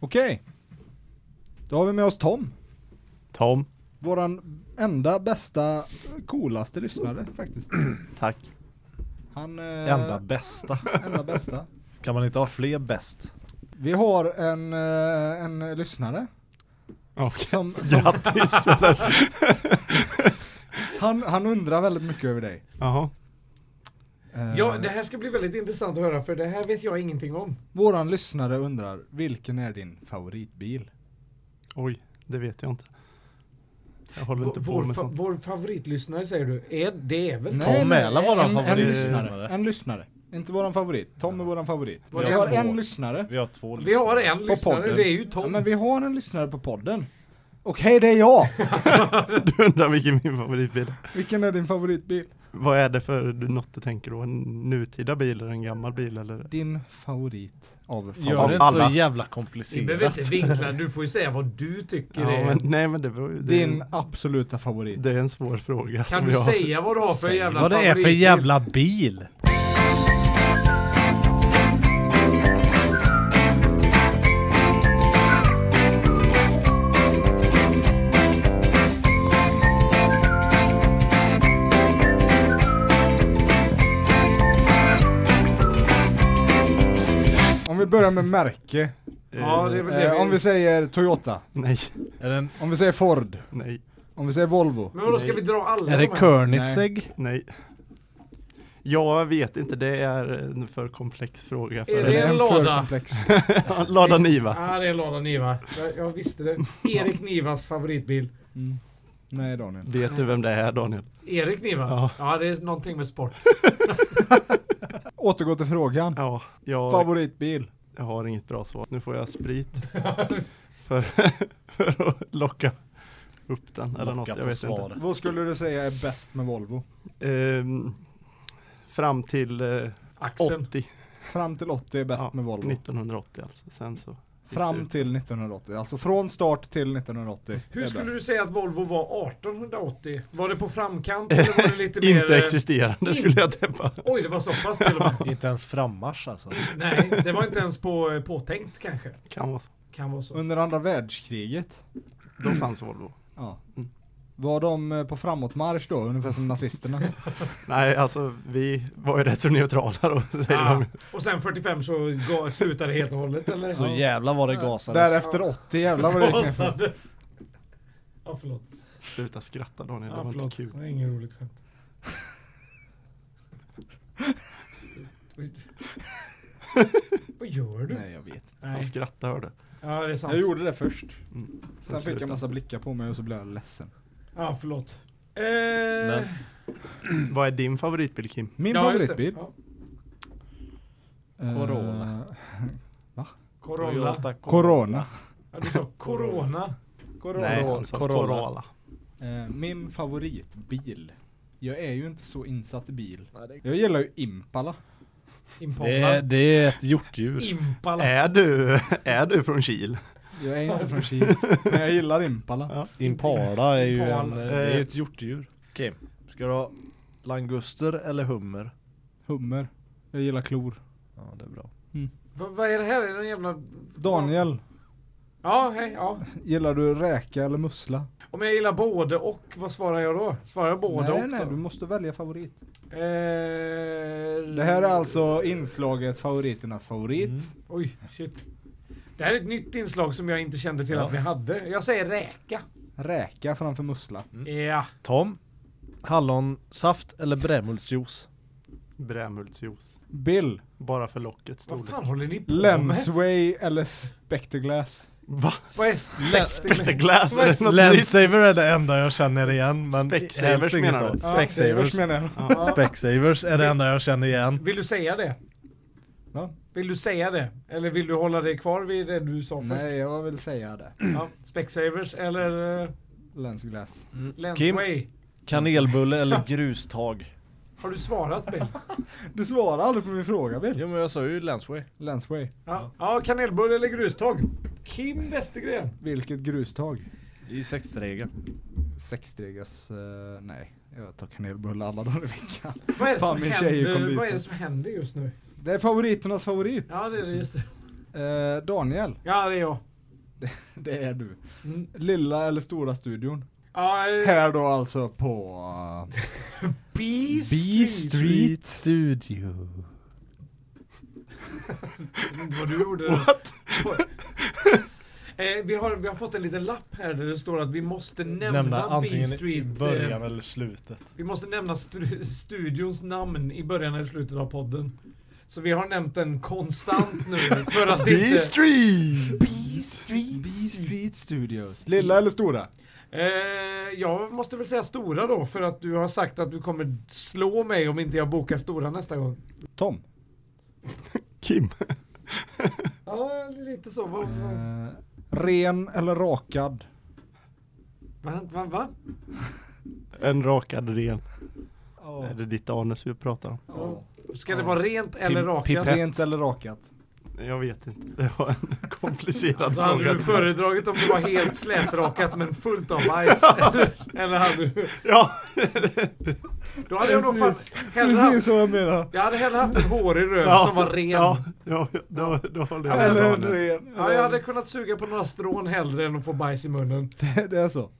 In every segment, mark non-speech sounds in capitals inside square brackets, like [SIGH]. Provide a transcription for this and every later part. Okej. Då har vi med oss Tom. Tom, Våran enda, bästa, coolaste lyssnare faktiskt. tack. Han... eh, Enda bästa. enda bästa. Kan man inte ha fler bäst? Vi har en, eh, en lyssnare. [LAUGHS] Som, som, Grattis! eller? han, han undrar väldigt mycket över dig. Jaha. Eh, Ja, det här ska bli väldigt intressant att höra för det här vet jag ingenting om. Våran lyssnare undrar, vilken är din favoritbil? Oj, det vet jag inte. Jag håller Vår, inte på vår, med fa sånt. vår favoritlyssnare säger du, är, det är väl Nej, nej, Mälar våran en, en lyssnare. favoritlyssnare. En lyssnare. Inte våran favorit. Tom är våran favorit. Var Vi det har två? en lyssnare. [LAUGHS] Vi har två Vi har en På lyssnare, podden. det är ju Ja, Tom. men vi har en lyssnare på podden. Och hej, det är [LAUGHS] jag! [LAUGHS] Du undrar vilken min favoritbil är. Vilken är din favoritbil? Vad är det för du- något du tänker då? En nutida bil eller en gammal bil eller? Din favorit av Gör det favorit. inte alla. så jävla Vi behöver komplicerat. inte vinkla, du får ju säga vad du tycker Ja, är. men, nej men det beror ju. Det, är Din en- absoluta favorit. det är en svår fråga. Kan som du jag, säga vad du har för Säg jävla vad det är för favoritbil? jävla bil. Om vi börjar med märke. Ja, det är väl det Eh, om vi vi... säger Toyota. Nej, Är det, en, Om vi säger Ford. nej, Om vi säger Volvo. Men då ska Nej. vi dra alla är det de här? Koenigsegg? nej. Jag vet inte, det är en för komplex fråga. Är För det Den en för lada? komplex. [LAUGHS] Lada Niva. Ja, det är en lada Niva. Jag, jag visste det. Erik Nivas favoritbil. Mm. Nej Daniel. Vet du vem det är Daniel? Erik Niva? Ja. Ja, det är någonting med sport. Återgå till frågan. Ja, jag Favoritbil. Jag har inget bra svar. Nu får jag sprit. [LAUGHS] för, [LAUGHS] för att locka upp den eller något. Locka Jag på vet svaret. Vad skulle du säga är bäst med Volvo? inte. Ehm, fram till eh, Axeln. 80. Fram till 80 är bäst Ja, med Volvo. 1980 alltså. Sen så. Fram till 1980. Alltså från start till 1980. Hur är skulle bäst. du säga att Volvo var 1880? Var det på framkant eller var det lite [LAUGHS] mer... Inte eh, existerande skulle jag tippa. Oj, det var så pass till och med. Inte ens frammarsch alltså. Nej, det var inte ens på, eh, påtänkt kanske. Kan vara så. Kan vara Alltså. så. Under andra världskriget. Då fanns Volvo. Ja. Mm. Var de eh, på framåtmarsch då? Ungefär som nazisterna. Nej, alltså vi var ju rätt så neutrala då. [LAUGHS] Säger Ah, de. och sen 45 så ga- slutade det helt och hållet eller? Så Ja. jävla vad [LAUGHS] det gasades. Därefter 80, jävlar vad [LAUGHS] det gick ner för. Rasades. Ja förlåt. Sluta skratta Daniel, det Ja, var inte förlåt. Det kul. var inget roligt skämt. Vad gör du? Nej jag vet. Han Nej. skrattade hörde. Ja det är Jag sant. gjorde det först. Mm. Sen fick jag sluta. massa blickar på mig och så blev jag ledsen. Ja förlåt. Eh, Vad är din favoritbil Kim? Min ja, just det. favoritbil. Ja. eh, Corolla. Corona. Corona. Ja, du sa corona. Corona. Nej, alltså Corolla. Corolla. Eh, min favoritbil. Jag är ju inte så insatt i bil. Jag gillar ju Impala. Det är, Impala. det är ett hjortdjur. Impala. Är du, [LAUGHS] är du från Kil? Jag är inte från Kil, men jag gillar Impala. Impala är ju en, Impala. eh, det är ju ett hjortdjur. Okej, ska du ha languster eller hummer? Hummer. Jag gillar klor. Ja, det är bra. Va- Vad är det här? Är det någon jävla... Daniel, Ja, hej. Ja. gillar du räka eller mussla? Om jag gillar både och, vad svarar jag då? Svarar jag både nej, och nej, då? du måste välja favorit. Eh, Det här är alltså inslaget favoriternas favorit. Oj, shit. Det här är ett nytt inslag som jag inte kände till Ja. att vi hade. Jag säger räka. Räka framför mussla. Ja. Tom, hallonsaft eller brännmulsjuice? Brämhultsjuice. Bill, Bara för lockets Vad storlek. fan håller ni på med? Lensway eller Spectreglass? Va? Vad är spektrum? Spectaglass? Är det något nytt? Lensaver är det enda jag känner igen. Men Specsavers helst inget menar du? av. Ja, Savers Specsavers. menar jag. Specsavers är det enda jag känner igen. Vill du säga det? Va? Vill du säga det? Eller vill du hålla dig kvar vid det du sa först? Nej, jag vill säga det. Ja. Specsavers eller uh, Lensglass. Mm, Kim? Lensway? Kanelbulle eller grustag? [LAUGHS] Har du svarat [LAUGHS] Bill? Du svarar aldrig på min fråga, Bill. Jo men jag sa ju Lansway. Lensway. Ja, ja kanelbulle eller grustag? Kim Westergren. Vilket grustag? I sextregeln. Sexdegars... eh, nej, jag tar kanelbulle alla dagar i veckan. Vad är det Fan, som min tjej kom händer? dit. Vad är det som händer just nu? Det är favoriternas favorit. Ja, det är det just det. Eh, Daniel, Ja, det är jag. [LAUGHS] Det är du. Mm. Lilla eller stora studion? Ja, eh, Här då alltså på... eh, B B Street. Street. Studio. Jag vet inte Vad du gjorde. What? [LAUGHS] Eh, vi, har, vi har fått en liten lapp här där det står att vi måste nämna, B antingen i Street. början eh, eller slutet. vi måste nämna stru- studions namn i början eller slutet av podden. Så vi har nämnt den konstant nu [LAUGHS] för att inte... B-Street! B Street Studios. Lilla eller stora? Eh, jag måste väl säga stora då för att du har sagt att du kommer slå mig om inte jag bokar stora nästa gång. Tom. Kim. Ja, lite så. Vad va, Eh, ren eller rakad? va, va, va? En rakad ren. Är det ditt anus vi pratar om? Ja. Ska det vara rent eller rakat? pipett. Rent eller rakat? Jag vet inte. Det var en [LAUGHS] komplicerad Så hade fråga. du föredragit om det var helt slätrakat men fullt av [LAUGHS] bajs? eller, eller hade du... Ja! Då hade jag nog fan Precis. hellre haft, så jag menar. Jag hade hellre haft en hårig röv ja. som var ren. Ja, Ja. ja då, då håller jag med Eller Daniel. ren. jag hade kunnat suga på några strån hellre än att få bajs i munnen. Det, det är så.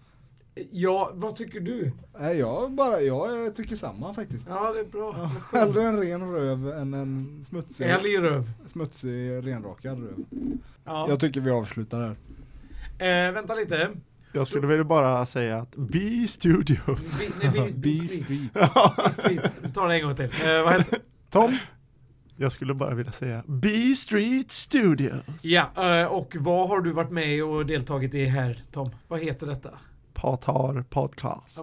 Ja, vad tycker du? Nej, jag bara, jag eh, tycker samma faktiskt. Ja, det är bra. Vad [LAUGHS] skönt. Hellre en ren röv än en smutsig, Älg i röv. smutsig renrakad röv. Ja. Jag tycker vi avslutar här. Eh, vänta lite. Jag skulle vilja bara säga att B-Studio. [LAUGHS] Vi, nej, [LAUGHS] vi, B vi, vi, Street. vi tar det en gång till. Eh, vad heter? Tom? Jag skulle bara vilja säga B-Street Studios. Ja, eh, och vad har du varit med och deltagit i här, Tom? Vad heter detta? Patar Podcast.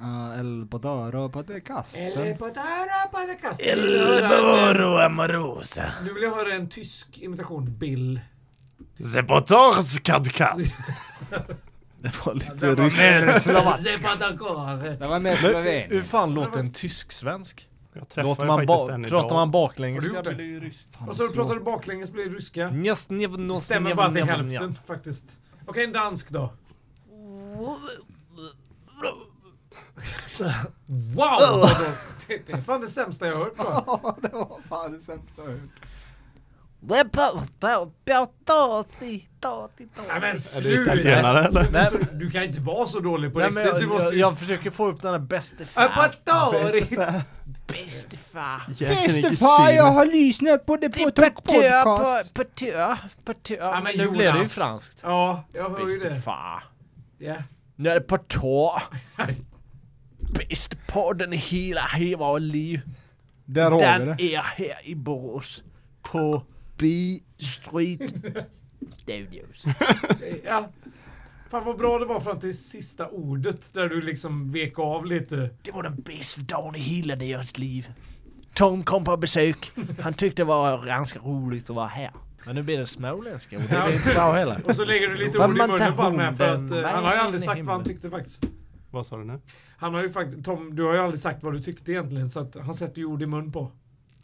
Uh, el Badara Podcast. Elboro Amorosa. Nu vill jag höra en tysk imitation, Bill. The Patars Podcast. Det var lite Det var [LAUGHS] ryskt. Zepadakar. Det var mer Hur sloven. fan låter en tysk-svensk? Jag träffade Låter man man faktiskt ba- den idag. pratar man baklänges? Har du gjort det? blir ju rysk. Och så pratar du baklänges blir det ryska. Njas, njev, nos, Stämmer njev, bara till njev, hälften njev. faktiskt. Okej, en dansk då. Wow! vad då- Det är fan det sämsta jag har hört va? Ja, det var fan det sämsta jag hört. Nej men Är du sluta! italienare eller? Nej, men Du kan inte vara så dålig på Nej, men riktigt. jag, Du måste jag, ju... jag försöker få upp den här bäste fan. Apatari! Bestefar, jag har lyssnat på det på podcast. Patö, patö. Ja, men men nu blir det ju Jonas. franskt. Ja, jag hör ju det. Bestefar. Ja. Nu är det patå. Bäste podden i hela, hela vårt liv. Där har vi Den det. är här i Borås. På B Street Studios. ja. Fan vad bra det var fram till sista ordet där du liksom vek av lite. Det var den bästa dagen i hela deras liv. Tom kom på besök. Han tyckte det var ganska roligt att vara här. Men nu blir det småländska och det Ja. blir inte bra [LAUGHS] heller. Och så lägger du lite Fan, ord i man tar munnen på honom här för att hunden eh, han med har ju sig aldrig in i sagt vad han himlen. tyckte faktiskt. Vad sa du nu? Han har ju faktiskt, Tom, du har ju aldrig sagt vad du tyckte egentligen så att han sätter ju ord i mun på,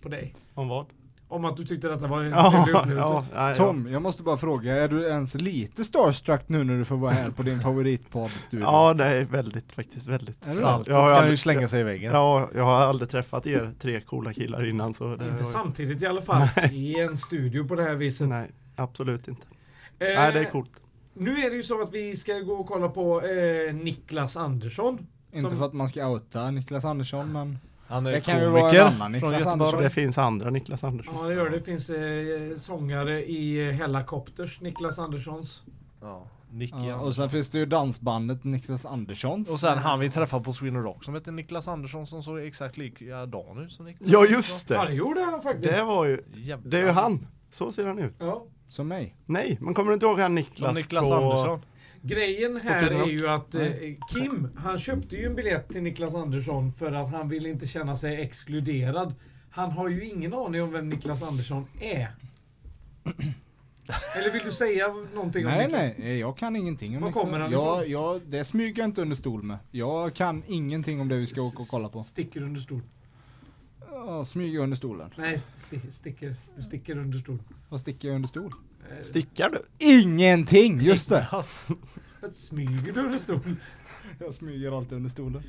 på dig. Om vad? Om att du tyckte detta var en Ja, trevlig upplevelse. ja, nej, ja. Tom, jag måste bara fråga, är du ens lite starstruck nu när du får vara här på din favoritpoddstudio? [LAUGHS] Ja, nej, väldigt faktiskt, väldigt. Är det Ja, sant? jag har aldrig- sig i väggen. Ja, jag har aldrig träffat er tre coola killar innan så det Inte var- samtidigt i alla fall. I en studio på det här viset. Nej, absolut inte. Eh, Nej, det är coolt. Nu är det ju så att vi ska gå och kolla på eh, Niklas Andersson. Inte som- för att man ska outa Niklas Andersson, men Han är det ju kan ju vara en annan från Niklas Göteborg. Andersson. Det finns andra Niklas Andersson. Ja det gör det. Det finns eh, sångare i eh, Hellacopters, Niklas Anderssons. Ja, Nicky Ja, Andersson. och sen finns det ju dansbandet Niklas Anderssons. Och sen han vi träffade på Sweden Rock som hette Niklas Andersson som såg exakt likadan ut som Niklas. Ja, just Ja det. det gjorde han faktiskt. Det var ju, Jävlar. det är ju han. Så ser han ut. Ja. Som mig. Nej, men kommer du inte ihåg han Niklas? Som Niklas på- Andersson. Grejen här Sweden är Rock. ju att eh, Kim, han köpte ju en biljett till Niklas Andersson för att han vill inte känna sig exkluderad. Han har ju ingen aning om vem Niklas Andersson [CLEARS THROAT] är. Eller vill du säga någonting om Nej Niklas? nej, jag kan ingenting om Var Niklas. kommer han jag, ifrån? jag, Det smyger jag inte under stol med. Jag kan ingenting om det vi ska åka och kolla på. Sticker under stol. Ja, smyger under stolen. Nej, sti- sticker. Du sticker under stol. Vad sticker jag under stol? Eh, Stickar du? Ingenting! Just det! Niklas. vad smyger du under stol? [LAUGHS] Jag smyger alltid under stolen.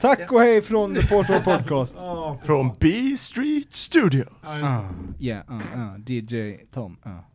Tack och hej från The Portal Podcast. Ja, Från B Street Studios. Ah, yeah, uh, uh, DJ ah. Tom. Uh.